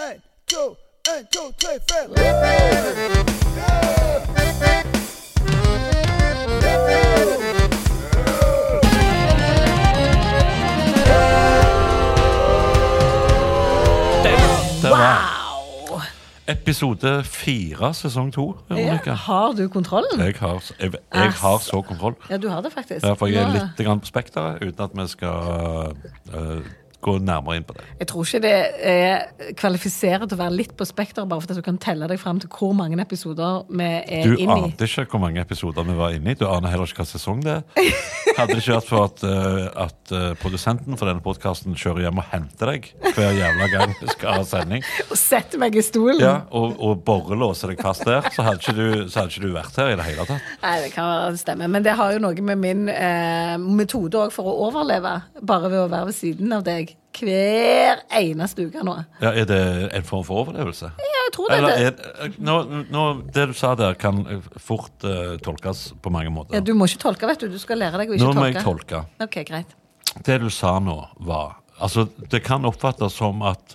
En, to, en, to, tre, fem. Wow! Episode fire, sesong to. Veronica. Har du kontrollen? Jeg har, jeg, jeg har så kontroll. Ja, du har det faktisk. Ja, for jeg er Nå- litt grann på spekteret, uten at vi skal eh, gå nærmere inn på det. Jeg tror ikke det er kvalifiserer til å være litt på spekter, bare fordi at du kan telle deg fram til hvor mange episoder vi er Du inne i. ante ikke hvor mange episoder vi var inne i. Du aner heller ikke hva sesong det er. Hadde det ikke vært for at, eh, at eh, produsenten for denne podkasten kjører hjem og henter deg hver jævla gang vi skal ha sending, Og setter meg i stolen. ja, og, og borrelåser deg fast der, så hadde, ikke du, så hadde ikke du vært her i det hele tatt. Nei, det kan være det stemmer. Men det har jo noe med min eh, metode også for å overleve, bare ved å være ved siden av deg hver eneste uke nå. Ja, er det en form for overlevelse? Ja, jeg tror det. Eller det. er, nå, nå, det du sa der, kan eh, fort eh, tolkes på mange måter. Ja, du må ikke tolke, vet du. Du skal lære deg å ikke nå tolke. må jeg tolke. Ok, greit. Det du sa nå, var Altså, det kan oppfattes som at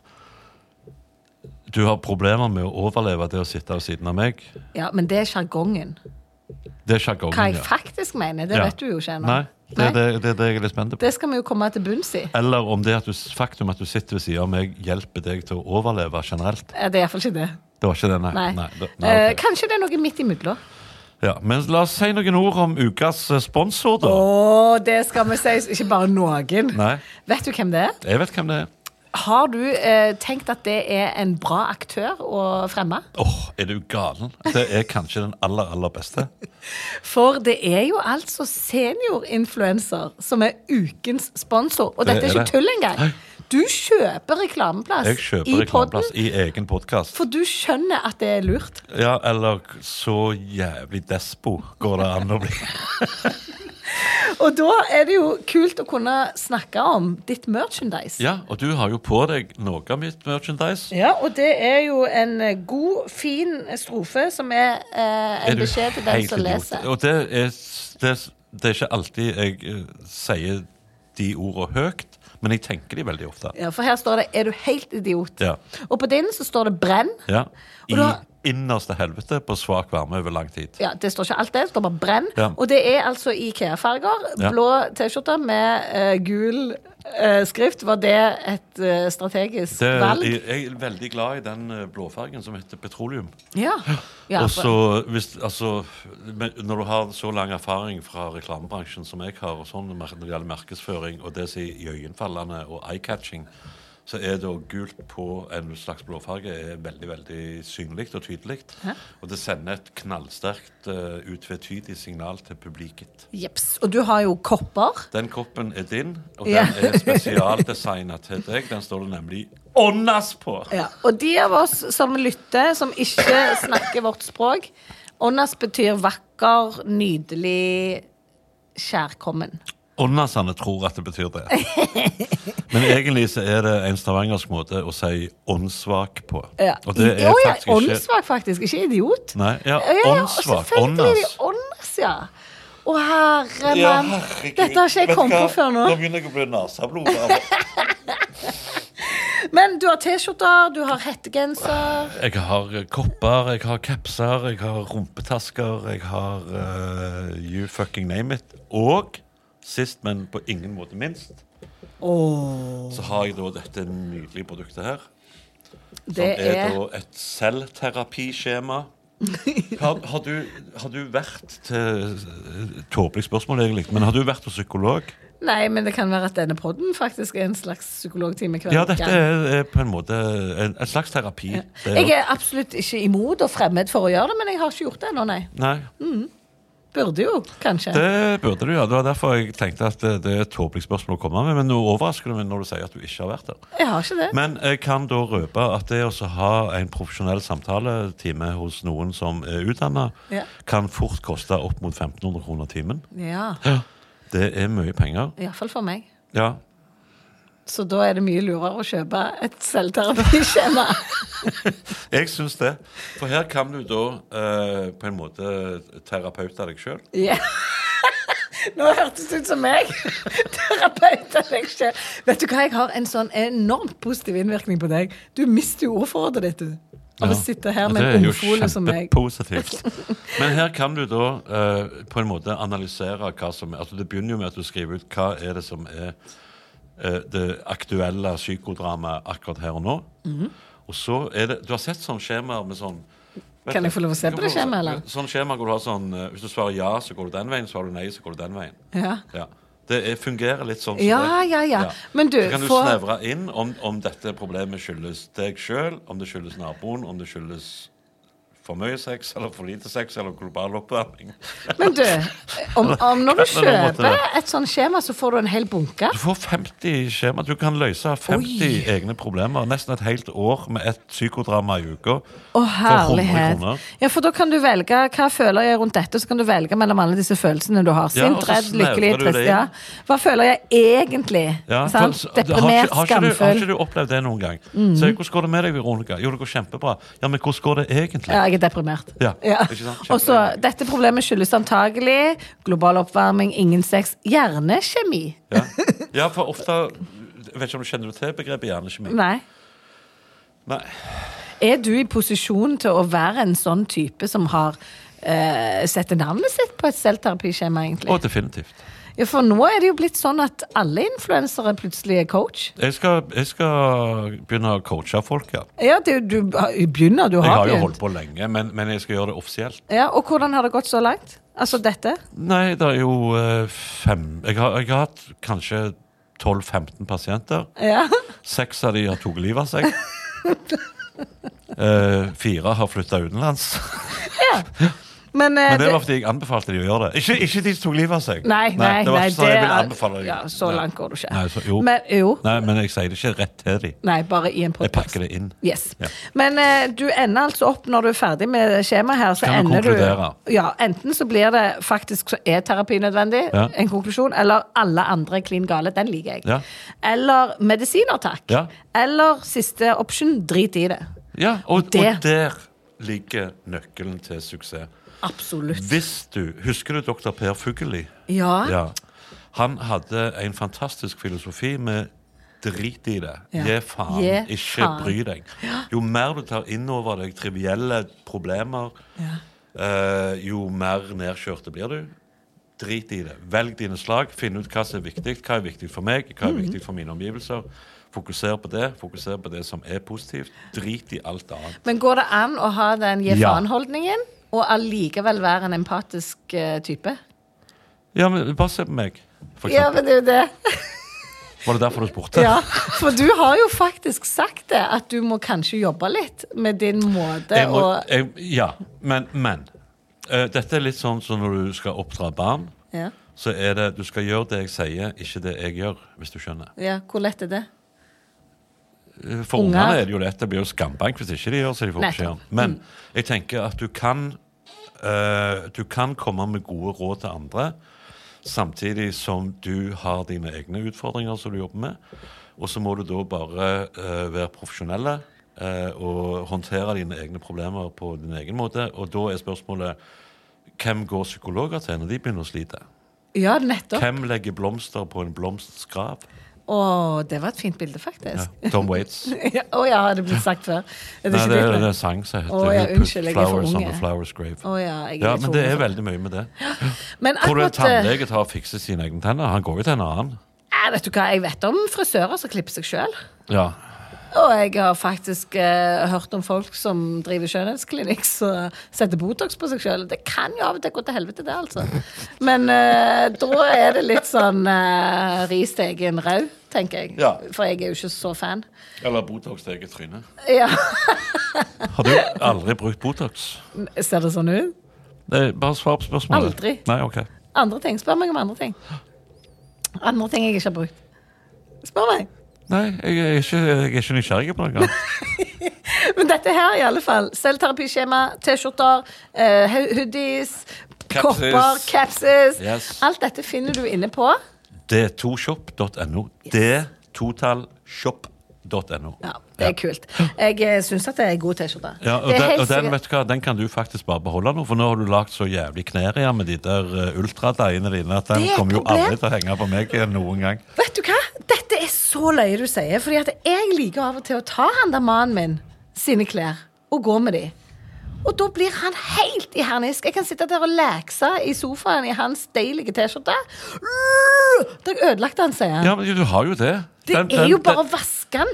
du har problemer med å overleve det å sitte ved siden av meg. Ja, men det er sjargongen. Det er sjargongen. Hva jeg ja. faktisk mener, det Ja. vet du jo ikke ennå. Nei, det Nei. er det, det, er det jeg er litt spent på. Det skal vi jo komme til bunns i. Eller om det at du, faktum at du sitter ved siden av meg, hjelper deg til å overleve generelt. Eh, Det er iallfall ikke det. Det var ikke det, nei. Nei. Nei, det- nei, Eh, ok. Kanskje det er noe midt imellom. ja, men la oss si noen ord om ukas eh, sponsor, da. Å, det skal vi si. Ikke bare noen. Nei. Vet du hvem det er? Jeg vet hvem det er. Har du eh, tenkt at det er en bra aktør å fremme? Åh, er du galen? Det er kanskje den aller, aller beste. For det er jo altså seniorinfluencer som er ukens sponsor. Og Det dette er er ikke det. tull engang. Du kjøper reklameplass Jeg kjøper reklameplass i egen podkast. Altså, for du skjønner at det er lurt. Ja, eller så jævlig despo går det an å bli. Og da er det jo kult å kunne snakke om ditt merchandise. Ja, og du har jo på deg noe av mitt merchandise. Ja, og det er jo en eh, god, fin strofe som er eh, en Er du beskjed til den helt som idiot? leser. Og det er, s- det, s- det er ikke alltid jeg eh, sier de ordene høyt, men jeg tenker de veldig ofte. Ja, For her står det 'Er du helt idiot?' Ja. Og på din så står det 'Brenn'. Ja. Og I du har- innerste helvete på svak varme over lang tid. Ja, Det står ikke alt det, det står bare 'Brenn'. Ja. Og det er altså Ikea-farger. Ja. Blå T-skjorte med eh, gul eh, skrift. Var det et eh, strategisk Det, valg? jeg, jeg er veldig glad i den eh, blåfargen som heter petroleum. Ja. ja. og så, hvis, altså, men når du har så lang erfaring fra reklamebransjen som jeg har, og sånn, mer- når det gjelder markedsføring og det som er iøynefallende og eye-catching, så er det å gult på en slags blåfarge er veldig veldig synlig og tydelig. Og det sender et knallsterkt, eh, utvetydig signal til publiket. Jeps. Og du har jo kopper. Den koppen er din, og Ja. den er spesialdesigna til deg. Den står det nemlig 'Åndas' på! Ja, og de av oss som lytter, som ikke snakker vårt språk Åndas betyr vakker, nydelig, kjærkommen. Åndasene tror at det betyr det. Men egentlig så er det en stavangersk måte å si åndssvak på. Ja. Og det er Jo, ja, faktisk ikke Åndssvak, faktisk. Ikke idiot. Nei, ja, åndssvak, Selvfølgelig er de åndas. åndas, ja. Å, herre mann. Dette har ikke jeg kommet på før nå. begynner jeg å bli naseblod. av. Men du har T-skjorter, du har hettegenser. Jeg har eh, kopper, jeg har kapser, jeg har rumpetasker, jeg har eh, you fucking name it. Og sist, men på ingen måte minst, så har jeg da dette nydelige produktet her. Som Det Sånn er, er da et selvterapiskjema. Har, har, du, har du vært til Tåpelig spørsmål, egentlig, men har du vært hos psykolog? Nei, men det kan være at denne podden faktisk er en slags psykologtime hver Ja, dette gang. er, er på en måte en, en slags terapi. Det er Jeg jo- er absolutt ikke imot og fremmed for å gjøre det, men jeg har ikke gjort det ennå, nei. Nei, Mm. Burde jo, kanskje. det burde du gjøre. Det var derfor jeg tenkte at det, det er et tåpelig spørsmål å komme med. Men nå overrasker du meg når du sier at du ikke har vært der. Jeg har ikke det. Men jeg kan da røpe at det å så ha en profesjonell samtaletime hos noen som er utdanna, Ja. kan fort koste opp mot 1500 kroner timen. Ja, Det er mye penger. iallfall for meg. Ja. Så da er det mye lurere å kjøpe et selvterapiskjema. Jeg syns det. For her kan du da eh, på en måte terapeute deg sjøl. Ja. Nå hørtes det ut som meg. Terapeut eller ikke. Vet du hva, jeg har en sånn enormt positiv innvirkning på deg. Du mister jo ordforrådet ditt, du. Av å sitte her med en ungfole som meg. kjempepositivt. Men her kan du da eh, på en måte analysere hva som er altså Det begynner jo med at du skriver ut hva er det som er eh, det aktuelle psykodramaet akkurat her og nå. Mhm. Og så er det Du har sett sånne skjemaer med sånn vet Kan du, jeg få lov å se du på kan det få- skjemaet, eller? Sånn skjema hvor du har sånn eh, Hvis du svarer ja, så går du den veien. Svarer du nei, så går du den veien. Ja. Ja. Det er, fungerer litt sånn som Ja, det. ja, ja. Men du, så kan du for- snevre inn om, om dette problemet skyldes deg sjøl, om det skyldes naboen, om det skyldes for mye sex eller for lite sex eller global oppvarming. Men du, om, om når du Kan det være på en måte kjøper et sånn skjema, så får du en hel bunke. Du får 50 skjema. Du kan løse 50 egne problemer. Nesten et helt år med et psykodrama i uka. Å, For 100 herlighet. kroner. Ja, for da kan du velge hva føler jeg rundt dette, så kan du velge mellom alle disse følelsene du har. Ja, og Sint, så redd, snevrer lykkelig, du det trist. inn. Ja. Hva føler jeg egentlig? Ja, for- sant? så- Deprimert, har, ikke, har, ikke du, har skamfull. Mm. ikke du opplevd det noen gang? Så, jeg, hvordan går det med deg, Veronica? Jo, det går kjempebra. Ja, men hvordan går det egentlig? Ja, jeg er deprimert. Ja, ikke sant? Kjempe- Og så, Dette problemet skyldes antagelig global oppvarming, ingen sex, hjernekjemi. Ja. ja, for ofte Jeg vet ikke om du kjenner til begrepet hjernekjemi? Nei. Nei. Er du i posisjon til å være en sånn type som har eh, sette navnet sitt på et selvterapiskjema, egentlig? Og definitivt. Ja, For nå er det jo blitt sånn at alle influensere plutselig er coach. Jeg skal, jeg skal begynne å coache folk, ja. Ja, det, er jo- du har- begynner, du Jeg har har jo holdt begynt. på lenge, men, men jeg skal gjøre det offisielt. Ja, og hvordan har det gått så langt? Altså dette? Nei, det er jo eh, fem Jeg har, jeg har hatt kanskje 12-15 pasienter. Ja. Seks av de har tatt livet av seg. Eh, fire har flytta utenlands. Men, eh, Men det var fordi jeg anbefalte de å gjøre det. Ikke, ikke de som tok livet av seg. Nei, nei, det var nei, ikke sånn jeg ville det er- anbefale dem. ja, så langt går du ikke. Nei, så, jo. Men- jo. Nei, men jeg sier det ikke rett til dem. Nei, bare i en Jeg podkast. pakker det inn. Yes. Ja. Men eh, du ender altså opp når du er ferdig med skjemaet her, så Kan vi ender konkludere? du Ja, enten så blir det faktisk så er terapi nødvendig, Ja. en konklusjon, eller alle andre er klin gale, den liker jeg. Ja. Eller medisiner, takk. Ja. Eller siste option, drit i det. Ja, og, Det- og der ligger nøkkelen til suksess. Absolutt. Hvis du, Husker du dr. Per Fugelli? Ja. Ja. Han hadde en fantastisk filosofi med drit i det. Ja. Gi faen, Gi ikke faen. bry deg. Jo mer du tar inn over deg trivielle problemer, eh, jo mer nedkjørte blir du. Drit i det. Velg dine slag, finn ut hva som er viktig. Hva er viktig for meg, hva er viktig for mine omgivelser. Fokuser på det. Fokuser på det som er positivt. Drit i alt annet. Men går det an å ha den gi Ja. faen-holdningen, og allikevel være en empatisk eh, type? Ja, men Bare se på meg, for Ja, eksempel. men det er jo det. Var det derfor du spurte? Ja, for du har jo faktisk sagt det, at du må kanskje jobbe litt med din måte jeg må, å jeg, Ja, men, men eh, Dette er litt sånn som når du skal oppdra barn ja. Så er det, du skal gjøre det jeg sier Ikke det jeg gjør, hvis du skjønner ja, hvor lett er det? Eh, For Unger. ungene er det jo lett Det blir jo skambank hvis ikke de gjør så de får Nettopp. beskjed om. Men jeg tenker at du kan eh, Du kan komme med gode råd til andre Samtidig som du har dine egne utfordringer Som du jobber med Og så må du da bare eh, være profesjonelle eh, og håndtere dine egne problemer på din egen måte. Og da er spørsmålet hvem går psykologer til når de begynner å slite? Ja, nettopp. Hvem legger blomster på en blomsts grav? Å, det var et fint bilde, Ja. faktisk. Tom Waits. Å ja, har det blitt sagt før? Nei, Er ikke det er bildet? det er en sang som heter Å, ja, Who Put unnskyld, jeg er for Flowers on unge. the Flowers Grave. Å ja, jeg er ja, men litt for det ung er for- veldig mye med det. Men Tror du en akkurat eh, tannlege tar og fikser sine egne tenner? Han går jo til en annen. eh, Vet du hva, jeg vet om frisører som klipper seg sjøl. Ja. Og jeg har faktisk eh, hørt om folk som driver skjønnhetsklinikk som setter Botox på seg sjøl. Det kan jo av og til gå til helvete, det, altså. Men eh, da er det litt sånn eh, ris til egen rau, tenker jeg. Ja. For jeg er jo ikke så fan. Eller Botox til eget tryne. Ja, Har du aldri brukt Botox? Ser det sånn ut? Nei, bare svar på spørsmålet. Aldri. Nei, ok. Andre ting. Spør meg om andre ting. Andre ting jeg ikke har brukt. Spør meg. Nei, jeg er ikke, jeg er ikke nysgjerrig på noe. Men dette her, i alle fall. Selvterapiskjema, T-skjorter, eh, hu- hoodies, Capses. kopper, capses. Yes. Alt dette finner du inne på. D2shop.no. D2talshop.no. Ja, Det er kult. Jeg syns at det er god T-skjorte. Ja, og, Det er den, helt og den, sikkert- vet du hva, den kan du faktisk bare beholde nå, for nå har du lagt så jævlig knær igjen med de der eh, ultradeiene dine at den Det er et kommer jo problem. aldri til å henge på meg noen gang. Vet du hva? Dette er så løye du sier, fordi at jeg liker av og til å ta han der mannen min sine klær og gå med de. Og da blir han helt i harnisk. Jeg kan sitte der og lekse i sofaen i hans deilige T-skjorte. Da jeg ødelagte han, sier han. Ja, men du har jo det. Det Den- er den- jo bare å den- vaske den.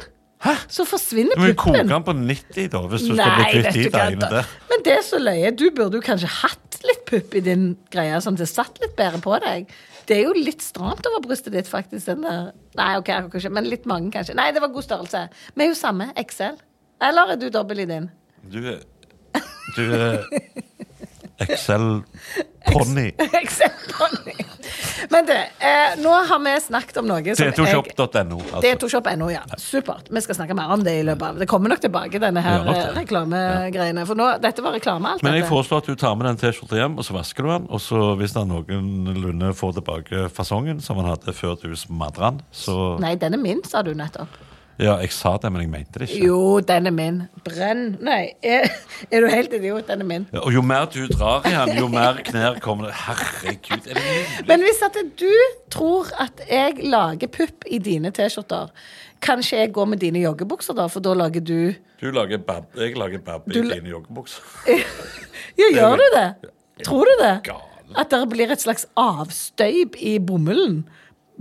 Så forsvinner Du må jo koke puppen. den på 90, da, hvis du skal bli Nei, kvitt vet de du hva. deiene da- der. Men det er så løye. Du burde jo kanskje hatt litt pupp i din greie, sånn at det satt litt bedre på deg. Det er jo litt stramt over brystet ditt, faktisk. Den der. Nei, ok, akkurat ikke, men litt mange, kanskje. Nei, det var god størrelse. Vi er jo samme. XL. Eller er du dobbel i din? Du er Du er Excel-ponni. XL-ponni. Men du, eh, nå har vi snakket om noe som jeg D2shop.no. Det er Altså. Torshop.no, ja. Supert. Vi skal snakke mer om det i løpet av Det kommer nok tilbake, denne her Ja, nok det. eh, reklamegreiene. For nå, dette var reklame, alt Men jeg dette. foreslår at du tar med den T-skjorta hjem, og så vasker du den. Og så hvis den noenlunde får tilbake fasongen som han hadde før du smadra den, så Nei, den er min, sa du nettopp. Ja, jeg sa det, men jeg mente det ikke. Jo, den er min. Brenn. Nei, er, er du helt idiot? Den er min. Ja, Og jo mer du drar i den, jo mer knær kommer det. Herregud, er det mulig? Men hvis at du tror at jeg lager pupp i dine T-skjorter, kanskje jeg går med dine joggebukser da, for da lager du Du lager bab, jeg lager bab i Du la- dine joggebukser. Ja, gjør du det? Tror du det? Gale. At det blir et slags avstøyp i bomullen?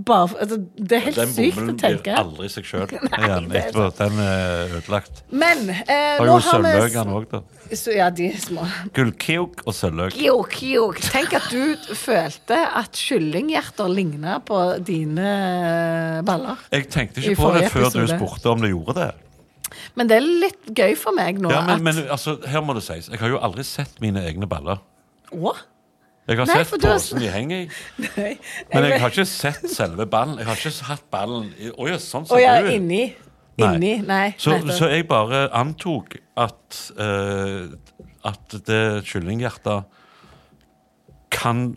Bare, for- altså, det er helt Den sykt å bomullen blir tenke. aldri seg sjøl igjen det er etterpå. Den er ødelagt. Men eh, Har nå jo har vi sølvløk, han òg, da. Så ja, de er små. Gullkjok og sølvløk. Kjok, kjok. Tenk at du følte at kyllinghjerter ligna på dine eh, baller. Jeg tenkte I ikke på det forrige før du episode. spurte om det gjorde det. Men det er litt gøy for meg nå Ja, men, at men altså, her må det sies. Jeg har jo aldri sett mine egne baller. Å? Jeg har Nei, for sett du har- posen de henger i, Nei. men jeg har ikke sett selve ballen. Jeg har ikke hatt ballen i Å ja, sånn Å ser ja, du ut. inni. Inni. Nei. Så, nettopp. så jeg bare antok at, eh, at det kyllinghjertet kan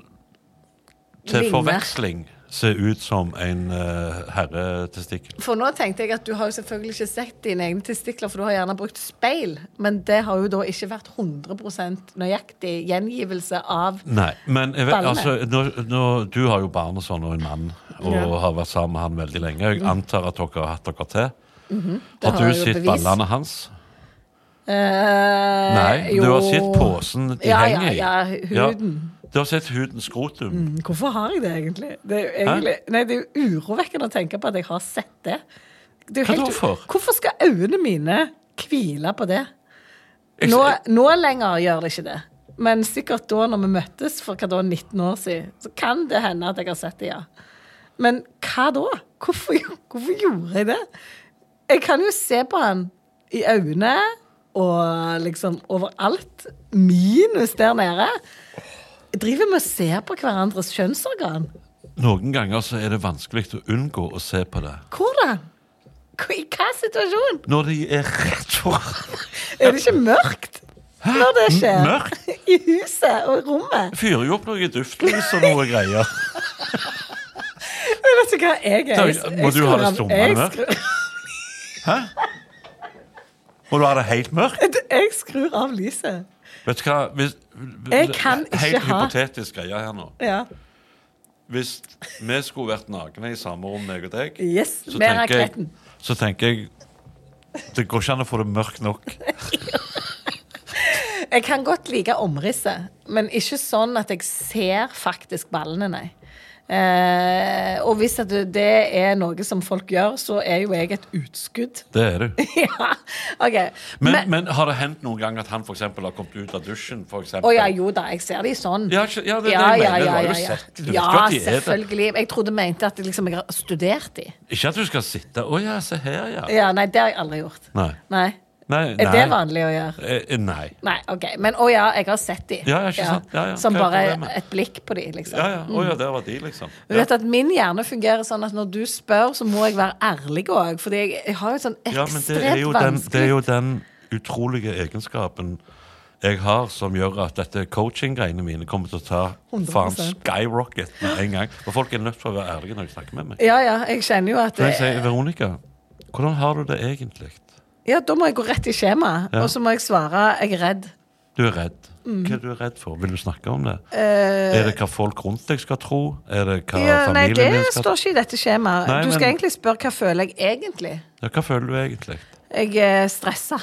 til Ligne. forveksling se ut som en eh, herretestikkel. For nå tenkte jeg at du har jo selvfølgelig ikke sett dine egne testikler, for du har gjerne brukt speil, men det har jo da ikke vært 100 nøyaktig gjengivelse av Nei, men jeg vet, Ballene. altså, nå, nå, du har jo barn og sånn, og en mann, og Ja. Mhm. har vært sammen med han veldig lenge. Jeg antar at dere har hatt dere til. Det Har du jeg jo sett bevis. ballene hans? Eh, Nei, du har sett posen de ja, henger i. Ja, ja, huden. Mhm. Ja, du har sett huden, skrotum. Mm, Hvorfor har jeg det egentlig? Det er jo, egentlig nei, det er jo urovekkende å tenke på at jeg har sett det. det er jo Hva helt- da for? Hvorfor skal øynene mine hvile på det? Jeg- Nå, nå lenger gjør det ikke det. Men sikkert da når vi møttes for hva da, 19 år siden, så kan det hende at jeg har sett det, ja. Men hva da? Hvorfor, gjo- hvorfor gjorde jeg det? Jeg kan jo se på han i øynene og liksom overalt. Minus der nede. Jeg driver med å se på hverandres kjønnsorgan. Noen ganger så er det vanskelig å unngå å se på det. Hvordan? Hvor- I hva situasjon? Når de er rett foran Er det ikke mørkt når det skjer? Mørkt? I huset og rommet. Fyrer jo opp noe duftlys og noe greier. Men vet du du hva, jeg er Da- jeg- må jeg du skrur ha det av- stumme, jeg eller? skrur- Må du ha det helt mørkt? Jeg skrur av lyset. Vet du hva? Hvis, Jeg kan ikke helt ha- hypotetisk greie her nå. Ja. Hvis vi skulle vært nakne i samme rom, meg og deg, Yes. så Mer av tenker jeg, kletten. så tenker jeg Det går ikke an å få det mørkt nok. Jeg kan godt like omrisset, men ikke sånn at jeg ser faktisk ballene, nei. Eh, og hvis at det- det er noe som folk gjør, så er jo jeg et utskudd. Det er du. ja, OK. Men, Men- men har det hendt noen gang at han for eksempel har kommet ut av dusjen? For eksempel? Å ja, jo da, jeg ser de sånn. Ja, ikke- ja, det er det jeg mener. Du har jo sett de. Du vet Ja, jo at de er det. selvfølgelig. Jeg trodde du mente at liksom, jeg har studert de. Ikke at du skal sitte Å ja, se her, ja. Ja, nei, det har jeg aldri gjort. Nei. Nei. Nei, Er det nei. vanlig å gjøre? Eh, nei. Nei, ok. Men å ja, jeg har sett de. Ja, ja, ikke sant. Ja, ja, Som hva er bare problemet? et blikk på de, liksom. Ja, ja. Å ja, der var de, liksom. Du vet at Min hjerne fungerer sånn at når du spør, så må jeg være ærlig òg. Fordi jeg, jeg har jo sånn Ja, men ekstremt det er, jo den, det er vanskelig jo den utrolige egenskapen jeg har som gjør at dette coaching-greiene mine kommer til å ta faen 100%. skyrocket med en gang. Og folk er nødt til å være ærlige når de snakker med meg. Ja, ja, jeg kjenner jo Så at det, jeg sier, Veronica, hvordan har du det egentlig? Ja, Da må jeg gå rett i skjemaet, Ja. og så må jeg svare 'jeg er redd'. Du er redd. Mm. Hva er du redd for? Vil du snakke om det? er det hva folk rundt deg skal tro? Er det hva Eh. Ja, nei, det familien din skal står ikke i dette skjemaet. Nei, du skal men- egentlig spørre hva føler jeg egentlig. Ja, hva føler du egentlig? Jeg er stressa.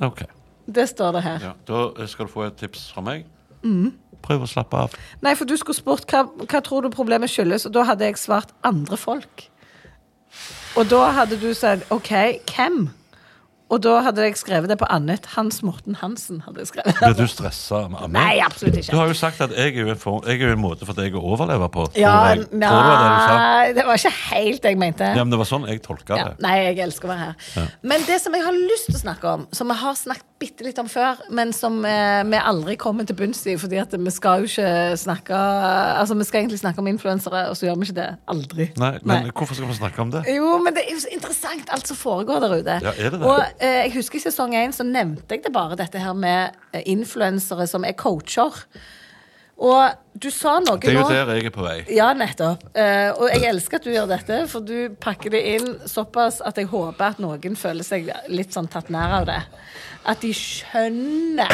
Ok. Det står det her. Ja, da eh, skal du få et tips fra meg. Mm. Prøv å slappe av. Nei, for du skulle spurt hva, hva tror du problemet skyldes, og da hadde jeg svart andre folk. Og da hadde du sagt OK, hvem? Og da hadde jeg skrevet det på annet. Hans Morten Hansen hadde jeg skrevet. Blir du stressa av meg? Nei, absolutt ikke. Du har jo sagt at jeg er jo en, form, jeg er jo en måte for deg å overleve på. tror Ja, jeg. Tror det var det du sa? nei, det var ikke helt det jeg mente. Ja, men det var sånn jeg tolka Ja, det. nei, jeg elsker å være her. Men det som jeg har lyst til å snakke om, som vi har snakket bitte litt om før, men som eh, vi aldri kommer til bunns i, fordi at vi skal jo ikke snakke Altså, vi skal egentlig snakke om influensere, og så gjør vi ikke det. Aldri. Nei, men hvorfor skal vi snakke om det? Jo, men det er jo så interessant alt som foregår der ute. Ja, er det det? Og eh, jeg husker i sesong én så nevnte jeg det bare, dette her med eh, influensere som er coacher. Og du sa noe nå Det er jo der jeg er på vei. ja, nettopp. Eh, og jeg elsker at du gjør dette, for du pakker det inn såpass at jeg håper at noen føler seg litt sånn tatt nær av det. At de skjønner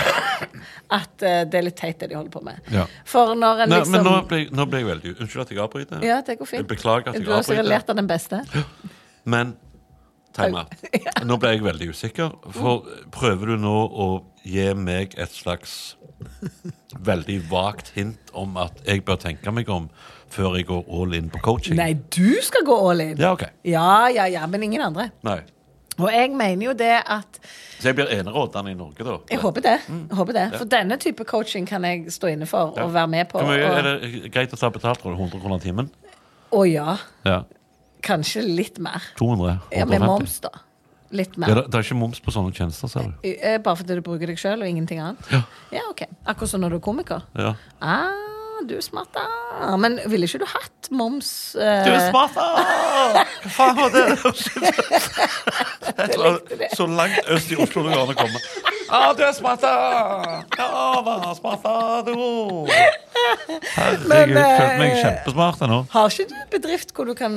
at eh, det er litt teit, det de holder på med. Ja. For når en Nei, liksom men nå ble, jeg- nå ble jeg veldig Unnskyld at jeg avbryter. Ja, det går fint. Jeg beklager at jeg du har sikkert avbryter. lært av den beste. Men time out. Nå ble jeg veldig usikker. For prøver du nå å gi meg et slags veldig vagt hint om at jeg bør tenke meg om før jeg går all in på coaching? Nei, du skal gå all in! Ja, ok. ja, ja, ja, men ingen andre. Nei. Og jeg mener jo det at Mm. Så jeg blir enerådende i Norge, da? Jeg håper det. Jeg håper det. For denne type coaching kan jeg stå inne for og være med på. Hvor mye og- er det greit å ta betalt for? 100 kroner timen? Å ja. Ja. Kanskje litt mer. 200? Ja, med 150. moms, da. Litt Ja, mer. det, det er ikke moms på sånne tjenester, ser du. Eh, Bare fordi du bruker deg sjøl og ingenting annet? Ja. ok. Akkurat som når du er komiker? Ja. Ah, du er smart, da. Men ville ikke du hatt moms Du er eh, smart! da! Hva faen var det? Et eller annet Så langt øst i Oslo det går an å komme. Ah, du er smart! da! Ja, hva smart da, du! Herregud, eh, følte meg kjempesmart nå. Har ikke du bedrift hvor du kan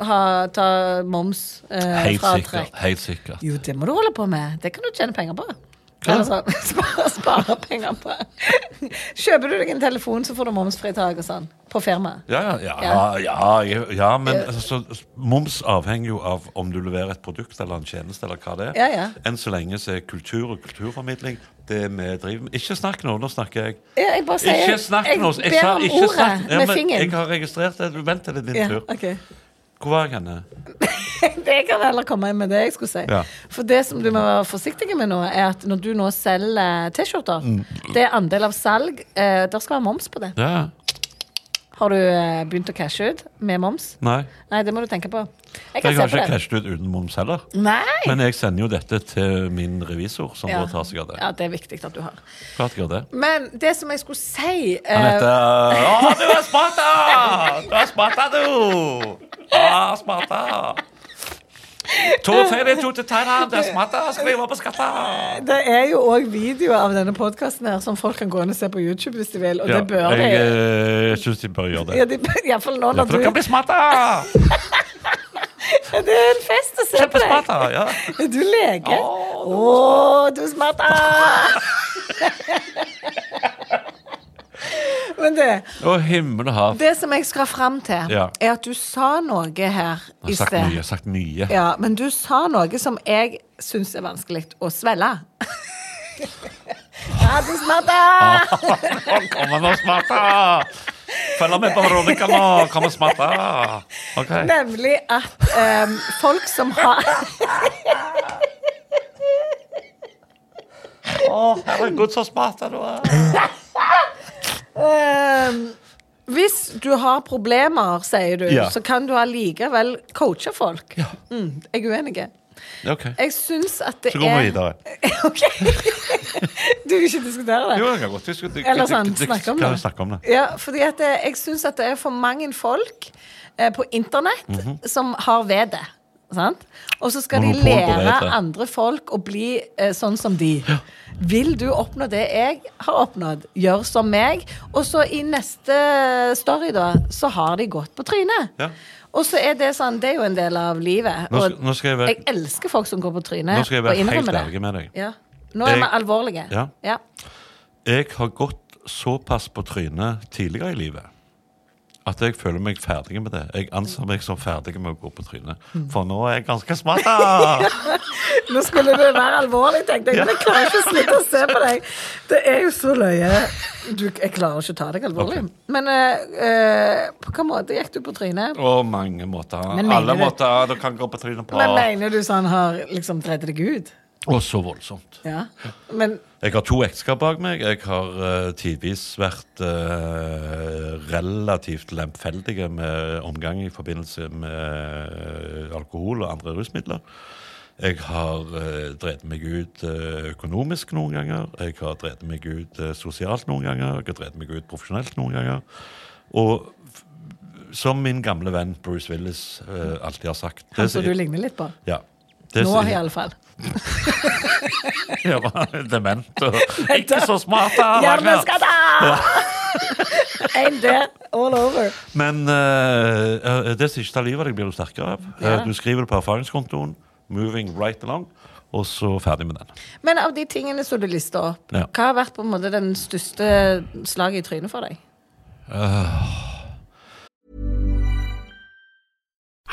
ha, ta moms eh, Helt fra sikkert. trekk? Helt sikkert. Jo, det må du holde på med. Det kan du tjene penger på. Hva? Eller sånn, spare, spare penger på. Kjøper du deg en telefon, så får du momsfritak og sånn. På firmaet. Ja, ja, ja, ja, ja, ja men altså, moms avhenger jo av om du leverer et produkt eller en tjeneste eller hva det er. Ja, ja. Enn så lenge så er kultur og kulturformidling det vi driver med. Ikke snakk nå, nå snakker jeg. Ja, Jeg bare sier Ikke snakk Jeg med oss. Jeg ber sa om ikke ordet snakk. Ja, med men Jeg fingeren. har registrert det. Du Vent til det er din Ja, tur. ok. Hvor var jeg henne? Det kan heller komme inn med det jeg skulle si. Ja. For det som du må være forsiktig med nå, er at når du nå selger T-skjorter, Mm. det er andel av salg, eh, der skal være moms på det. Ja. Har du eh, begynt å cashe ut med moms? Nei. Nei, det må du tenke på. Jeg Jeg har kan se ikke på det. cashet ut uten moms heller. Nei! Men jeg sender jo dette til min revisor, som Ja. da tar seg av det. ja, det er viktig at du har. Klart jeg gjør det. Men det som jeg skulle si eh, Han heter Å, du er sparta! Du er sparta, du! Å, sparta! To ferie, to til Thailand, det smatter, skriver på skatter. Det er jo òg videoer av denne podkasten her som folk kan gå inn og se på YouTube hvis de vil, og det bør de. jeg eh, synes de bør gjøre det. Ja, de bør- i hvert fall nå Ja, når for du dere blir smatta! Det er en fest å se på deg. Kjempesmatta! Ja. Er du lege? Å, du er smart! Ah! Men det, Og himmel og hav. det som jeg skal fram til, Ja. er at du sa noe her Jeg har i sagt mye. sted. jeg har sagt mye. Ja, men du sa noe som jeg syns er vanskelig å svelge. Ja, du er smart! Ah! Å, Kom an og smatta! Følg med på Veronica nå! Kom og smatta! OK. Nemlig at em, folk som har Å, herregud, så smatta du er! Ehm, hvis du har problemer, sier du, Ja. så kan du allikevel coache folk. Mm, jeg er uenig. OK. Jeg syns at det Så går vi er videre. Ok. Du vil ikke diskutere det? Jo, jeg kan godt huske det. Eller sånn, det- det- snakke om ja, det. snakke om det. Ja, fordi at eh, jeg syns at det er for mange folk eh, på internett som har vedet. Sant? Og så skal de Mhm. Monopol på lære vedet. andre folk å bli eh, sånn som de. Vil du oppnå det jeg har oppnådd, gjør som meg. Og så i neste story, da, så har de gått på trynet. Ja. Og så er det sånn, det er jo en del av livet. Nå Og skal- nå skal jeg være- jeg elsker folk som går på trynet. Nå skal jeg og være helt innrømmer det. ærlig med deg. Ja. Nå er Jeg- vi alvorlige. Ja. Ja. Jeg har gått såpass på trynet tidligere i livet at jeg føler meg ferdig med det. Jeg anser meg som ferdig med å gå på trynet. Mm. For nå er jeg ganske smatta! Nå skulle det være alvorlig, tenkte jeg. Men jeg klarer ikke å slutte å se på deg. Det er jo så løye. Du, jeg klarer ikke å ta deg alvorlig. Ok. Men eh, eh, på hvilken måte gikk du på trynet? På mange måter. Men mener Alle du- måter du kan gå på trynet på. Men mener du sånn har liksom dreid deg ut? Og så voldsomt. Ja. Men Jeg har to ekteskap bak meg. Jeg har eh, tidvis vært eh, relativt lemfeldige med omgang i forbindelse med alkohol og andre rusmidler. Jeg har eh, drevet meg ut eh, økonomisk noen ganger. Jeg har drevet meg ut eh, sosialt noen ganger. Jeg har drevet meg ut profesjonelt noen ganger. Og f- som min gamle venn Bruce Willis eh, alltid har sagt han som- som du ligner litt på. ja, det Nå som- iallfall. jeg var dement og ikke så smart. da, Ragnar. Hjerneskada! Én der, all over. Men eh, eh, det som ikke tar livet av deg, blir du sterkere av. Eh, du skriver det på erfaringskontoen. Moving right along. Og så ferdig med den. Men av de tingene som du lista opp, Ja. hva har vært på en måte den største slaget i trynet for deg?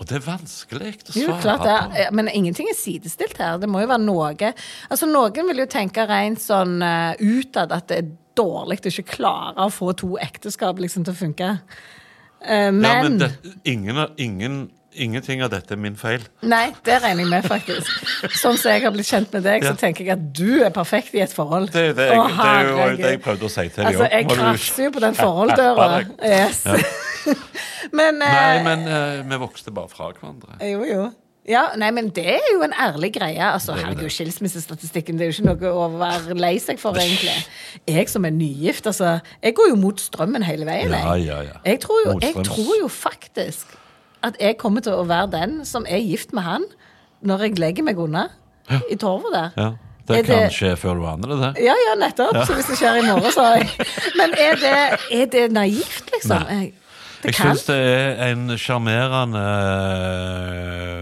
Og det er vanskelig å Jo, svare klart det. Eh, på. Men ingenting er sidestilt her. Det må jo være noe Altså, Noen vil jo tenke rent sånn eh, utad at det er dårlig å ikke klare å få to ekteskap liksom til å funke. Eh, men, Ja, men det, ingen, av- ingen, ingenting av dette er min feil. Nei, det regner jeg med, faktisk. Sånn som jeg har blitt kjent med deg, Ja. så tenker jeg at du er perfekt i et forhold. Det er jo det jeg- Å, det er jo herregud. det jeg prøvde å si til deg Altså, også. jeg Må du krasjer jo på den forholdsdøra. skjerpe deg. Yes. men, eh, Nei, men eh, vi vokste bare fra hverandre. Jo, jo. Ja, nei, men det er jo en ærlig greie. Altså, herregud, Skilsmissestatistikken det er jo ikke noe å være lei seg for, egentlig. Jeg som er nygift, altså. Jeg går jo mot strømmen hele veien. Ja, jeg. ja, ja. Jeg, tror jo, jeg Motstrøms. tror jo faktisk at jeg kommer til å være den som er gift med han når jeg legger meg unna i torvet der. Ja, det Er kan skje før du aner det. det. ja, ja, nettopp. Så hvis det skjer i morgen, så har jeg Men er det, er det naivt, liksom? Jeg, Det Jeg kan. syns det er en sjarmerende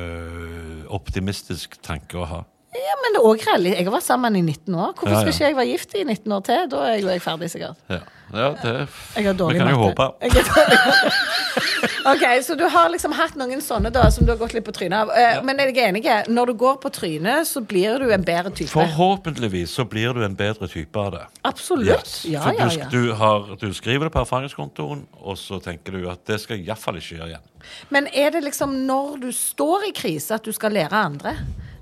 øh, optimistisk tanke å ha. Ja, men det er også reali- Jeg har vært sammen i 19 år. Hvorfor Ja, ja. skal ikke jeg være gift i 19 år til? Da er jeg, jo jeg ferdig, sikkert. Ja, ja det Jeg har dårlig Vi kan jo matte. håpe. Jeg er dårlig matte. ok, Så du har liksom hatt noen sånne da som du har gått litt på trynet av. Eh, Men jeg er enig. Når du går på trynet, så blir du en bedre type. Forhåpentligvis så blir du en bedre type av det. Absolutt. Ja, For ja, du, ja. du, har, du skriver det på erfaringskontoen, og så tenker du at det skal jeg iallfall ikke gjøre igjen. Men er det liksom når du står i krise, at du skal lære andre?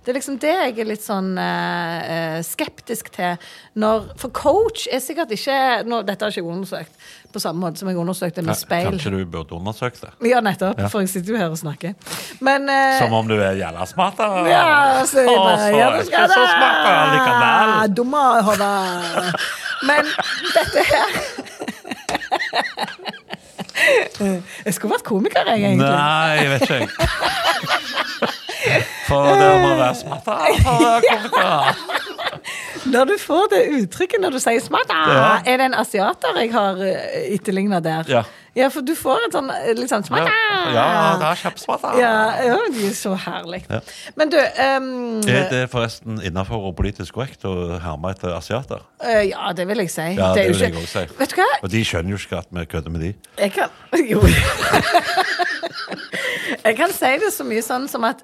Det er liksom det jeg er litt sånn eh, eh, skeptisk til. Når, for coach er sikkert ikke nå, Dette har ikke jeg undersøkt på samme måte som jeg undersøkte med speil. Kanskje du burde undersøkt det. Ja, nettopp. For jeg sitter jo her og snakker. Men eh, Som om du er jævla smart. da. ja, så er jeg Å, bare, så ja, er du jeg skal Ah, ikke så smart da, likevel. Dumme hode. Men dette her Jeg skulle vært komiker, jeg, egentlig. Nei, jeg vet ikke. jeg. For det må være smart da, for å komme til. Når du får det uttrykket når du sier 'smatta', Ja. er det en asiater jeg har eh, etterlignet der? Ja. for du får et sånn eh, litt sånn 'smatta'. Ja, det er kjempesmart. da. ja, ja, de er så herlig. Men du ehm, Er det forresten innafor og politisk korrekt å herme etter asiater? eh, Ja, det vil jeg si. Ja, er det jo vil jeg også si. Vet du hva? Og de skjønner jo ikke at vi kødder med de. Jeg kan Jo. jeg kan si det så mye sånn som at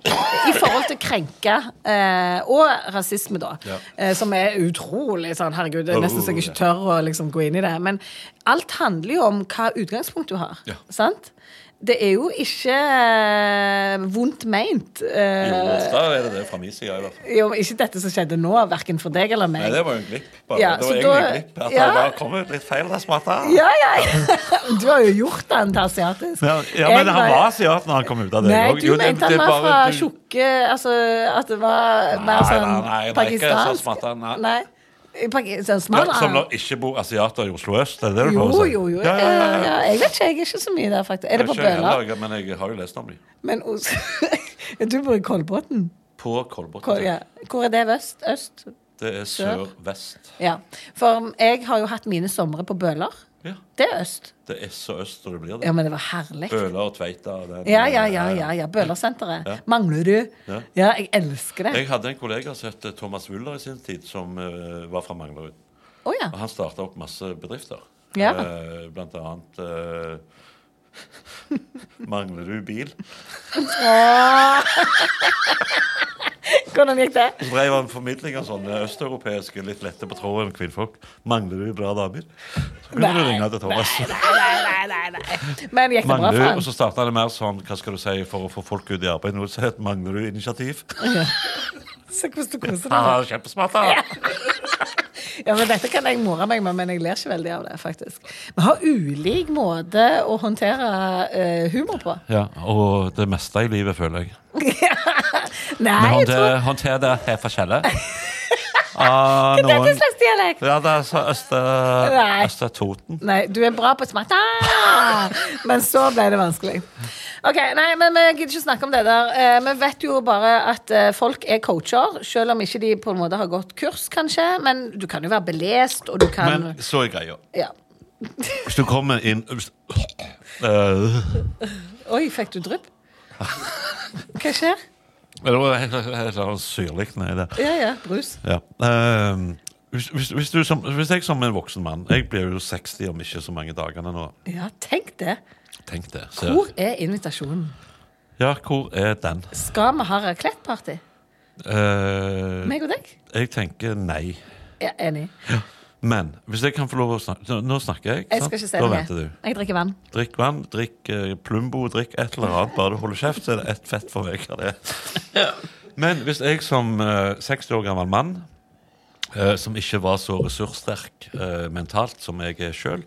i forhold til krenke eh, og rasisme, da, Ja. eh, som er utrolig sånn Herregud, det er nesten så jeg ikke tør å liksom, gå inn i det. Men alt handler jo om hva utgangspunkt du har. Ja. Sant? Det er jo ikke eh, vondt meint. Eh, er det det fra min side, i hvert fall. jo, ikke dette som skjedde nå, verken for deg eller meg. var jo en glipp. Ja, Det var så egentlig da- en glipp, at det ja. bare kom ut litt feil, det smarte. Ja, ja, Du har jo gjort den til asiatisk. Ja, Jeg men han var asiat når han kom ut av det. Nei, og- du jo, det- mente det han er var bare- fra du- tjukke Altså at det var mer Nei, sånn nei, nei, det er ikke sånn pakistansk. smatta, nei. I Paki- Sånn Ja, smal Som når ikke bor asiater i Oslo øst, er det det du Jo, prøver å si? jo, jo. Ja, ja, ja, ja. ja, Jeg vet ikke, jeg er ikke så mye der, faktisk. Er det på Ikke jeg Bøler? heller, Men jeg har jo lest om dem. Men os Du bor i Kolbotn? På Kol Kolbotn. ja. Hvor er det? Vest? Øst? Det er sør-vest. Ja. For jeg har jo hatt mine somre på Bøler. Ja. Det er øst. Det er så øst som det blir. Ja, det men det var herlig. Bøler og Tveita. og den- Ja, ja, ja. ja, ja. Bølersenteret. Manglerud. Ja. jeg elsker det. Jeg hadde en kollega som het eh, Thomas Wuller i sin tid, som eh, var fra Manglerud. Å ja. Og han starta opp masse bedrifter. Ja. Eh, blant annet eh, Mangler du bil? Hvordan gikk det? Så drev han formidling av sånne østeuropeiske, litt lette på tråden kvinnfolk. Mangler du bra damer? Så kunne du ringe til Thomas. Nei, nei, nei. Men gikk det bra Mangler for du, han? og så starta det mer sånn hva skal du si, for å få folk ut i arbeid. Noe som heter Mangler du initiativ? Se hvordan du koser deg. Ah, Kjempesmart! da. Ja, men Dette kan jeg more meg med, men jeg ler ikke veldig av det, faktisk. Vi har ulik måte å håndtere eh, humor på. Ja, og det meste i livet, føler jeg. Nei, Men jeg tror håndter, håndter det helt forskjellig. Ah, Hva er noen dette slags dialekt? Ja, det er altså så Nei. Øste- Øster-Toten. Nei, du er bra på smatta! Men så ble det vanskelig. Ok, nei, men Vi gidder ikke snakke om det der. Eh, Vi vet jo bare at eh, folk er coacher, selv om ikke de på en måte har gått kurs, kanskje. Men du kan jo være belest, og du kan Men så er greia. ja. Hvis du kommer inn Øh, Oi, fikk du drypp? Hva skjer? Det var helt- helt- helt sånn syrlig nedi der. Ja, ja, brus. Ja. Ehm, hvis, hvis, hvis, du som, hvis jeg som en voksen mann Jeg blir jo 60 om ikke så mange dagene nå. Ja, tenk det. Tenk det. Så- Hvor er invitasjonen? Ja, hvor er den? Skal vi ha raclette-party? Eh, Meg og deg? jeg tenker nei. Ja, enig. Men hvis jeg kan få lov å snakke Nå- Nå snakker jeg. Jeg sant? skal ikke si Sånn. da det. venter du. Jeg drikker vann. Drikk vann, drikk eh, Plumbo, drikk et eller annet. Bare du holder kjeft, så er det ett fett for meg av det. Men hvis jeg som eh, 60 år gammel mann, eh, som ikke var så ressurssterk eh, mentalt som jeg er sjøl,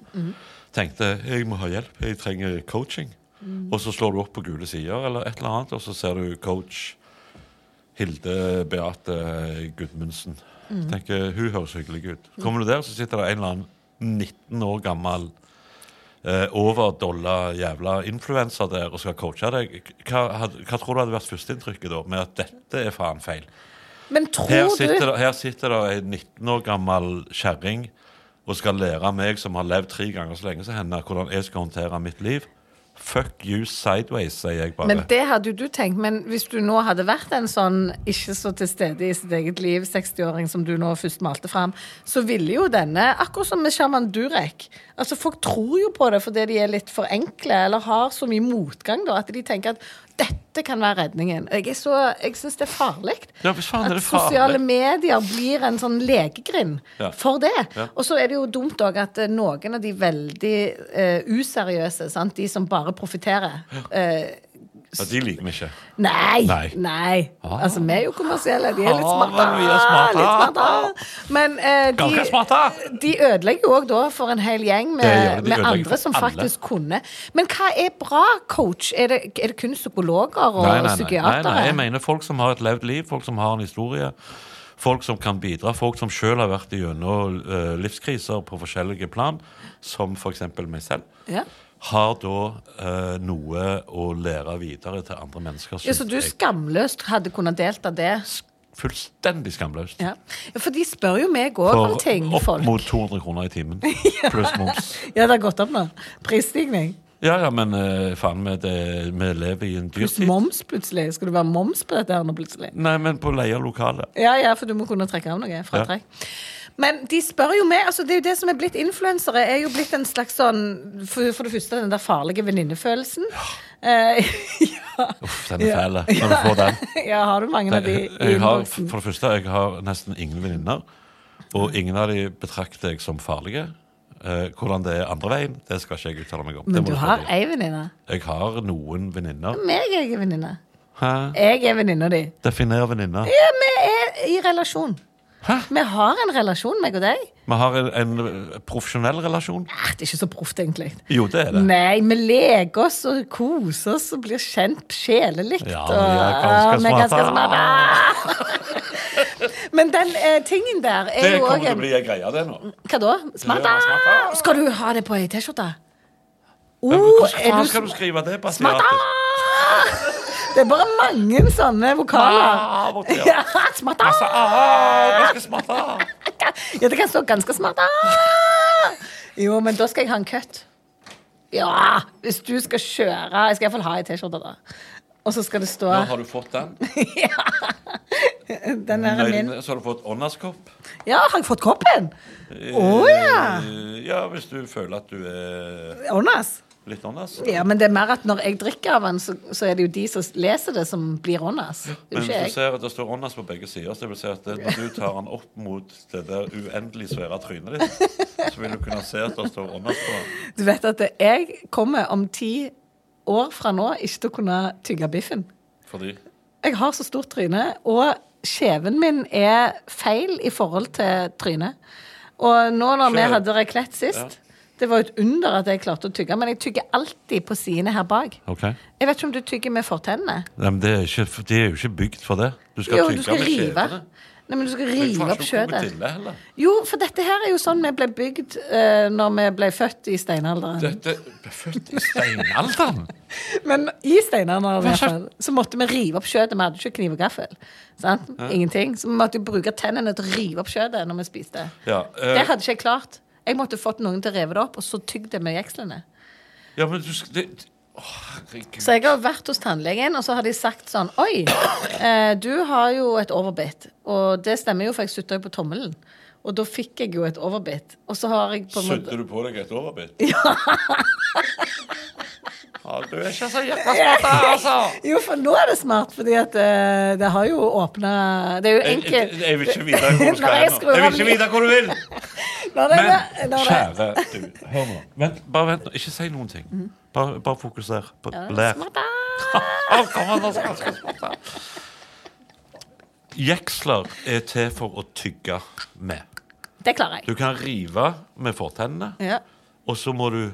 tenkte jeg må ha hjelp, jeg trenger coaching, og så slår du opp på gule sider eller et eller annet, og så ser du coach Hilde Beate Gudmundsen. Tenker, Hun høres hyggelig ut. Kommer du der, så sitter det en eller annen 19 år gammel eh, overdolla jævla influenser der og skal coache deg, hva, had, hva tror du hadde vært førsteinntrykket da? Med at dette er faen feil. Men Her tror sitter du det, her sitter det ei 19 år gammel kjerring og skal lære meg, som har levd tre ganger så lenge som henne, hvordan jeg skal håndtere mitt liv. Fuck you sideways, sier jeg bare. Men det hadde jo du tenkt. Men hvis du nå hadde vært en sånn ikke så til stede i sitt eget liv, 60-åring som du nå først malte fram, så ville jo denne, akkurat som med sjaman Durek altså Folk tror jo på det fordi de er litt for enkle eller har så mye motgang da, at de tenker at dette kan være redningen. Jeg, er så, jeg syns det er farlig Ja, hvis faen er at det farlig. sosiale medier blir en sånn legegrind Ja. for det. Ja. Og så er det jo dumt òg at eh, noen av de veldig eh, useriøse, sant? de som bare profitterer eh, ja, de liker vi ikke. Nei. Nei. nei. Altså, vi er jo kommersielle. De er litt Ah, smarte. men vi er smarte. Litt smarte. Men eh, Ganske smarte. de, de ødelegger jo òg da for en hel gjeng Det gjør de. med, De med ødelegger andre som for alle. faktisk kunne. Men hva er bra coach? Er det, er det kun psykologer og Nei, nei, nei. nei, psykiatere? nei. Jeg mener folk som har et levd liv, folk som har en historie. Folk som kan bidra, folk som sjøl har vært gjennom eh, livskriser på forskjellige plan, som f.eks. meg selv, Ja. har da eh, noe å lære videre til andre mennesker. ja, så du synes jeg. skamløst hadde kunnet delta det? Fullstendig skamløst. Ja. Ja, For de spør jo meg òg For om ting, opp folk. mot 200 kroner i timen. Pluss moms. Ja, det har gått opp nå. Prisstigning. Ja, ja, men eh, faen, vi, det, vi lever i en dyr Pluss tid. moms, plutselig. Skal det være moms på dette her nå, plutselig? Nei, men på leie av lokale. Ja, ja, for du må kunne trekke av noe. Fratrekk. Men de spør jo meg altså Det er jo det som er blitt influensere. er jo blitt en slags sånn For, for det første den der farlige venninnefølelsen. Eh, Ja. Uff, den er fæl. eh, Når du får den. ja, har du mange av de Jeg, i jeg har, innboksen? for det første, jeg har nesten ingen venninner. Og ingen av de betrakter jeg som farlige. Eh, hvordan det er andre veien, det skal ikke jeg uttale meg om. Det Men må du spørre har de om. ei venninne. Jeg har noen venninner. Meg er jeg venninne. Hæ? Jeg er venninna di. Definer venninner. Ja, vi er i relasjon. Hæ? Vi har en relasjon, meg og deg. Vi har en, en profesjonell relasjon. Ah, det er ikke så proft, egentlig. Jo, det er det. Nei, vi leker oss og koser oss og blir kjent sjelelig. Ja, vi og- er ganske Ah, vi er smarte. Men den eh, tingen der er Det jo kommer òg til å en bli en greie, det nå. Hva da? Smarte? Ja, smarte. Skal du ha det på ei T-skjorte? Men Oh, Hvordan er faen du skal du skrive det? på Smarte! asiatisk? Det er bare mange sånne Ah, vokaler. borti, Ja, ja. smarte! Altså, ah, ganske smarte. Ja, det kan stå ganske smart. Ah! Jo, men da skal jeg ha en cut. Ja, hvis du skal kjøre Jeg skal iallfall ha ei T-skjorte, da. Og så skal det stå Nå har du fått den. Den der er min. Nøyden- Så har du fått ånderskopp. Ja, har jeg fått koppen? Å ja! Eh, Ja, hvis du føler at du Eh, er Åndas. litt åndas. Ja, men det er mer at når jeg drikker av den, så, så er det jo de som leser det, som blir åndas. Det Men er jo hvis du ikke jeg. ser at det står åndas på begge sider, så det vil si at det, når du tar den opp mot det der uendelig svære trynet ditt, så vil du kunne se at det står åndas på den. Du vet at jeg kommer om ti år fra nå ikke til å kunne tygge biffen. Fordi Jeg har så stort tryne, og kjeven min er feil i forhold til trynet. Og nå når vi Skjønner. hadde reklett sist Det var jo et under at jeg klarte å tygge, men jeg tygger alltid på sidene her bak. Jeg vet ikke om du tygger med fortennene. Nei, men det er, ikke, det er jo ikke bygd for det. Du skal Jo, tygge du skal med rive. kjevene. Nei, men du skal Men rive faen, ikke opp noe kjøttet. krokodille heller. Jo, for dette her er jo sånn vi ble bygd uh, når vi ble født i steinalderen. Dette ble født i steinalderen. Men i steinalderen i Hva hvert fall, så måtte vi rive opp kjøttet. Vi hadde ikke kniv og gaffel. Sant? Ingenting. Så vi måtte jo bruke tennene til å rive opp kjøttet når vi spiste. Ja, eh, Det hadde ikke jeg klart. Jeg måtte fått noen til å rive det opp, og så tygde jeg med jekslene. ja, men du skal det, Å, herregud. Så jeg har vært hos tannlegen, og så har de sagt sånn Oi, eh, du har jo et overbitt. Og det stemmer jo, for jeg sutta jo på tommelen. Og da fikk jeg jo et overbitt. Og så har jeg på en måte Sydde du på deg et overbitt? Ja. du er ikke så jævla smart, altså! Jo, for nå er det smart, fordi at eh, det har jo åpna Det er jo Jeg, jeg, enkelt. jeg vil ikke vite hvor du skal Nei, jeg hen. nå. skrur Jeg av vil ikke vite hvor du vil! Når det- eh, Men når det- kjære du, hør nå. Vent, bare vent nå. Ikke si noen ting. Bare, bare fokuser. På, lær. Mhm. Smart, da. Å, kom an, altså, ganske smart, da. Jeksler er til for å tygge med. Det klarer jeg. Du kan rive med fortennene, Ja. og så må du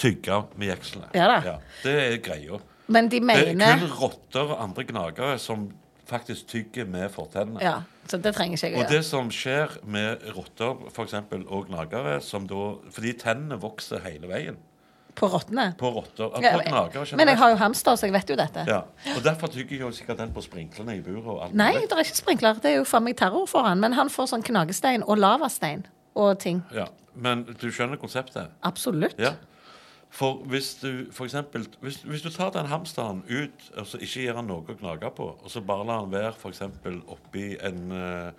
tygge med jekslene. Ja da. det er greia. Men Det de er mener Eh, kun rotter og andre gnagere som faktisk tygger med fortennene. Ja, så det trenger ikke jeg å Og gjøre. det som skjer med rotter for eksempel, og gnagere som da, Fordi tennene vokser hele veien På rottene. på rotter. Ja, på gnagere generelt. men jeg har jo hamster, så jeg vet jo dette. ja. Og Derfor tygger jo sikkert den på sprinklene i buret. og alt Nei, mulig. det er ikke sprinkler. Det er jo faen meg terror for han. Men han får sånn knagestein og lavastein og ting. Ja. Men du skjønner konseptet? Absolutt. Ja. For hvis du for eksempel, hvis, hvis du tar den hamsteren ut, altså ikke gir han noe å gnage på, og så bare lar han være for eksempel oppi en eh,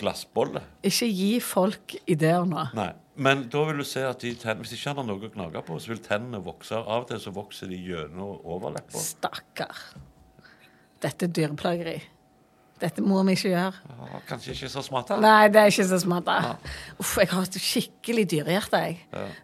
glassbolle Ikke gi folk ideer nå. Nei. Men da vil du se at de tenn, hvis ikke han har noe å gnage på, så vil tennene vokse. Av og til så vokser de gjennom overleppa. Stakkar. Dette er dyreplageri. Dette må vi ikke gjøre. Ja, Ah, Kanskje ikke så smart. da. Nei, det er ikke så smart. da. Uff, jeg har et skikkelig dyrehjerte, jeg.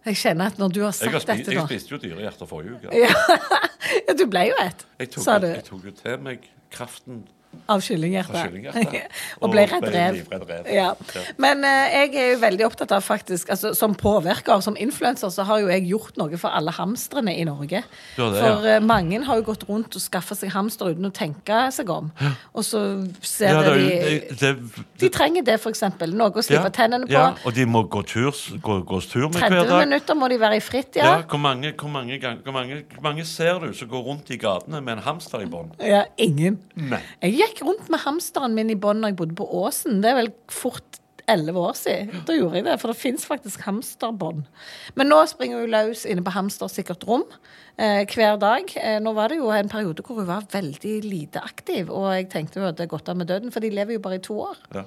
Jeg kjenner at når du har Jeg, sagt har spi, dette jeg nå spiste jo dyrehjerter forrige uke. ja. ja, du ble jo et, Jeg tok, sa du. jeg tok jo til meg kraften Av Av kyllinghjerte. kyllinghjerte. og ble Og redd ble rev. livredd rev. Ja. Ja. Men eh, jeg er jo veldig opptatt av faktisk altså, Som påvirker, som influenser, så har jo jeg gjort noe for alle hamstrene i Norge. Du har det, ja. for eh, mange har jo gått rundt og skaffa seg hamster uten å tenke seg om. Og så ser Ja, det, er de jo- det, det, De trenger det, for eksempel. Noe å slippe tennene på. Ja, og de må gå turs, gå, gås tur med hver 30 dag. minutter må de være i fritt, ja. Ja, hvor, mange, hvor, mange gang, hvor, mange, hvor mange ser du som går rundt i gatene med en hamster i bånd? Ja, ingen. Nei. Jeg gikk rundt med hamsteren min i bånd da jeg bodde på Åsen. Det er vel fort elleve år siden. Da gjorde jeg det, for det fins faktisk hamsterbånd. Men nå springer hun løs inne på hamstersikkert rom eh, hver dag. Eh, nå var det jo en periode hvor hun var veldig lite aktiv, og jeg tenkte hun hadde gått av med døden, for de lever jo bare i to år. Ja.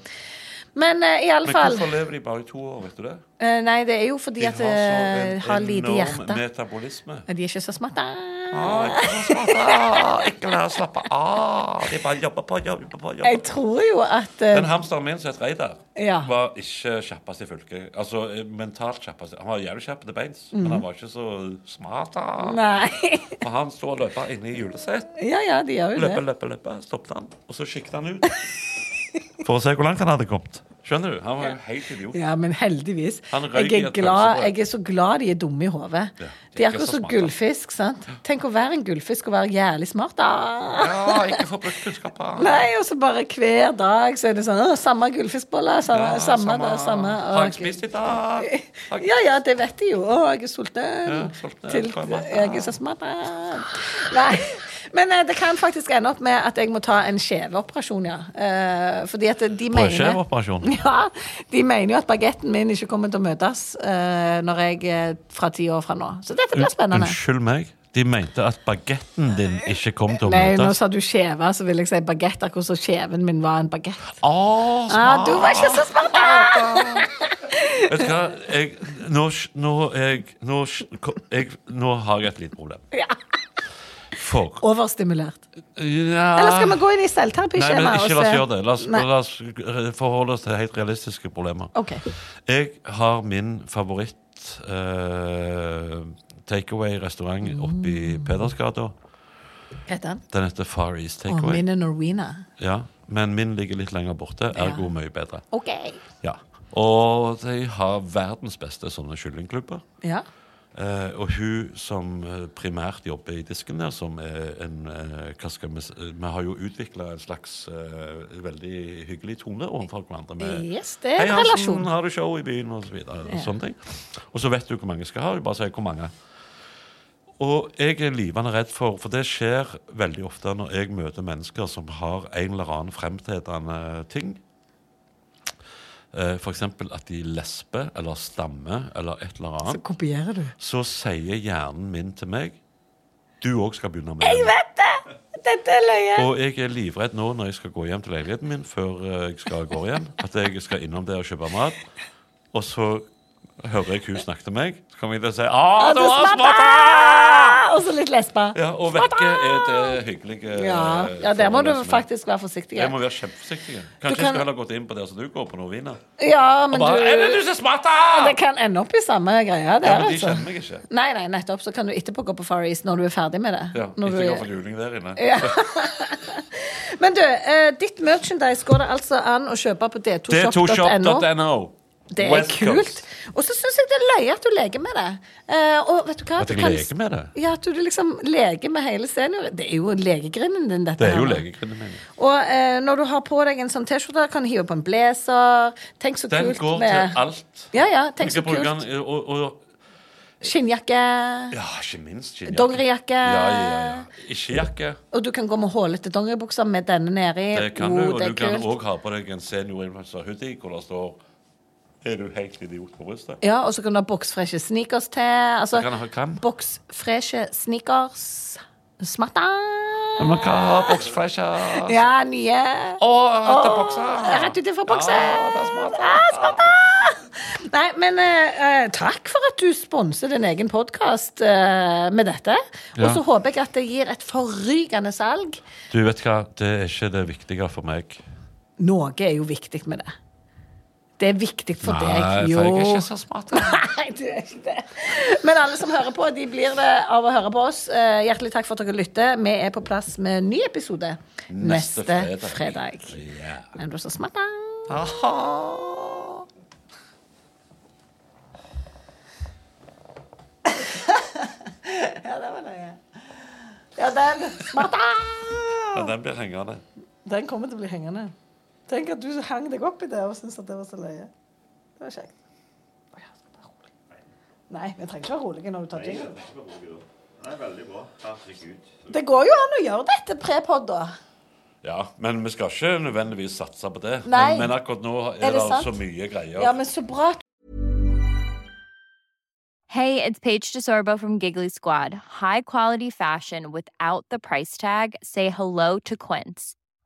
Men eh, i alle Men fall hvorfor lever de bare i to år, vet du det? eh, Nei, det er jo fordi at de en har lite hjerte. metabolisme. Men De er ikke så smatte. Ah, ikke slappe av, ikke la oss slappe av. De bare jobber på, jobber på, jobber Jeg på. tror jo at eh, Den hamsteren min som het Reidar, Ja. var ikke kjappest i fylket. Altså eh, mentalt kjappest. Han var jævlig kjapp til beins, men han var ikke så smart. da. Mhm. Nei. For han sto og løp inne i julesett. Ja, ja, de gjør jo Løpe, det. løpe, løpe. Stoppet han, og så kikket han ut. For å se hvor langt han hadde kommet. Skjønner du? Han var jo helt idiot. Ja, men heldigvis. Han røyker i Jeg er, et glad, pølsebrød. jeg er så glad de er dumme i hodet. de er De ikke er akkurat så som smarte. gullfisk, sant. Tenk å være en gullfisk og være jævlig smart, da. Ja, ikke få brukt kunnskapen. Nei, og så bare hver dag så er det sånn «Å, Samme gullfiskbolle, samme, Ja, samme, da, samme. Har jeg spist i dag? Har jeg- Ja, ja, det vet de jo. Å, jeg er sulten. Ja, sulten, Til, får jeg mat, da? jeg er så smart. Nei. Men eh, det kan faktisk ende opp med at jeg må ta en skjeveoperasjon, ja. Eh, fordi at de mener Brødskjeveoperasjon. Ja, de mener jo at bagetten min ikke kommer til å møtes eh, når jeg eh, fra ti år fra nå. Så dette blir spennende. Unnskyld meg. De mente at bagetten din ikke kom til å Nei, nå møtes. sa du skjeve, så vil jeg si bagett. Akkurat som skjeven min var en bagett. Å, Ah, smart! du var ikke så smart! Vet du hva? Jeg, nå, sk- nå, jeg, nå, sk- ko- jeg, nå har jeg et lite problem. Ja. For Overstimulert. ja. Eller skal vi gå inn i selvterapi Nei, men ikke la oss gjøre det. La oss, Nei. la oss re- forholde oss til helt realistiske problemer. OK. Jeg har min favoritt eh, takeaway-restaurant oppe i Mm. Pedersgata. Hva heter den? Den heter Far East Å, Takeaway. min er Norwena. Ja, men min ligger litt lenger borte, ergo mye bedre. OK. Ja. Og de har verdens beste sånne kyllingklubber. Ja. Eh, og hun som eh, primært jobber i disken der, som er en eh, hva skal vi, s- eh, vi har jo utvikla en slags eh, veldig hyggelig tone overfor hverandre. Med, Yes, det er en Eh, Hansen, relasjon.» har du show i byen?' og så videre. Og, sånne ting. og så vet du hvor mange jeg skal ha. Du bare sier hvor mange. Og jeg er livende redd for, for det skjer veldig ofte når jeg møter mennesker som har en eller annen fremtredende ting. Eh, F.eks. at de lesber eller stammer eller et eller annet Så kopierer du. så sier hjernen min til meg du òg skal begynne med Jeg det. vet det! Dette er løye. Og jeg er livredd nå når jeg skal gå hjem til leiligheten min, før eh, jeg skal gå igjen, at jeg skal innom der og kjøpe mat. Og så hører jeg hun snakke til meg, så kommer jeg til å si ah, du har smart! Ah, Og så litt lesba. Ja, Og vekke er det hyggelige eh, Ja, ja der må du forholdet som er. faktisk være forsiktig. Jeg altså, må være kjempeforsiktig. Kanskje jeg kan- skulle heller gått inn på der som du går, på Norvina. Ja, men Og bare, er det du du som smarter? Det kan ende opp i samme greia Ja, der, men de altså. kjenner meg ikke. Nei, nei, nettopp. Så kan du etterpå gå på Far East når du er ferdig med det. Ja, når Ikke gå du... for juling der inne. Men du, eh, ditt merchandise går det altså an å kjøpe på d2shop.no. D2shop.no. Det er kult. Og så syns jeg det er løye at du leker med det. Eh, og vet du hva? At Du jeg kan- leker med det? Ja, at du liksom leker med hele senior... Det er jo legegrinden din, dette. Det er jo her. legegrunnen min. Og eh, når du har på deg en sånn T-skjorte, kan du hive på en blazer. Tenk så Den kult går med til alt. Ja, ja, Jeg tenk så skal bruke den kult. i- og, og Skinnjakke. Ja, ikke minst skinnjakke. Dongerijakke. Ja, ja, ja. Ikke jakke. Og du kan gå med hålete dongeribukser med denne nedi. Det kan Oh, du. Og det er du kan kult. òg ha på deg en seniorinfluencer-hoodie hvor det står Er du helt idiot på brystet? Ja, og så kan du ha boksfreshe sneakers til. Altså, Kan jeg ha hvem? boksfreshe sneakers Smatta! Men hva har boksfresher? Ja, nye. Å, rette bokser! Rett ut ifra boksen! Ja, det er smart. Ah, smatta! Nei, men eh, eh, takk for at du sponser din egen podkast med dette. Og Ja. så håper jeg at det gir et forrykende salg. Du vet hva, det er ikke det viktige for meg. Noe er jo viktig med det. Det er viktig for deg. Eh, Jo. for jeg er ikke så smart. Nei, du er ikke det. Men alle som hører på, de blir det av å høre på oss. Eh, Hjertelig takk for at dere lytter. Vi er på plass med en ny episode neste, Neste fredag. fredag. Ja. Men du er så smatta. Aha. Ja, den smatta! Ja, den blir hengende. Den kommer til å bli hengende. Tenk at du hang deg opp i det og syntes at det var så løye. Det var kjekt. Å ja, skal vi være rolig? Nei, vi trenger ikke være rolige når du tar jingle. Det går jo an å gjøre dette pre-pod, da. Ja, men vi skal ikke nødvendigvis satse på det. Nei. Men, men akkurat nå er, Er det det, sant? så mye greier. Ja, men så bra at Hey, it's Paige DeSorbo from Giggly Squad. High quality fashion without the price tag. Say hello to Quince.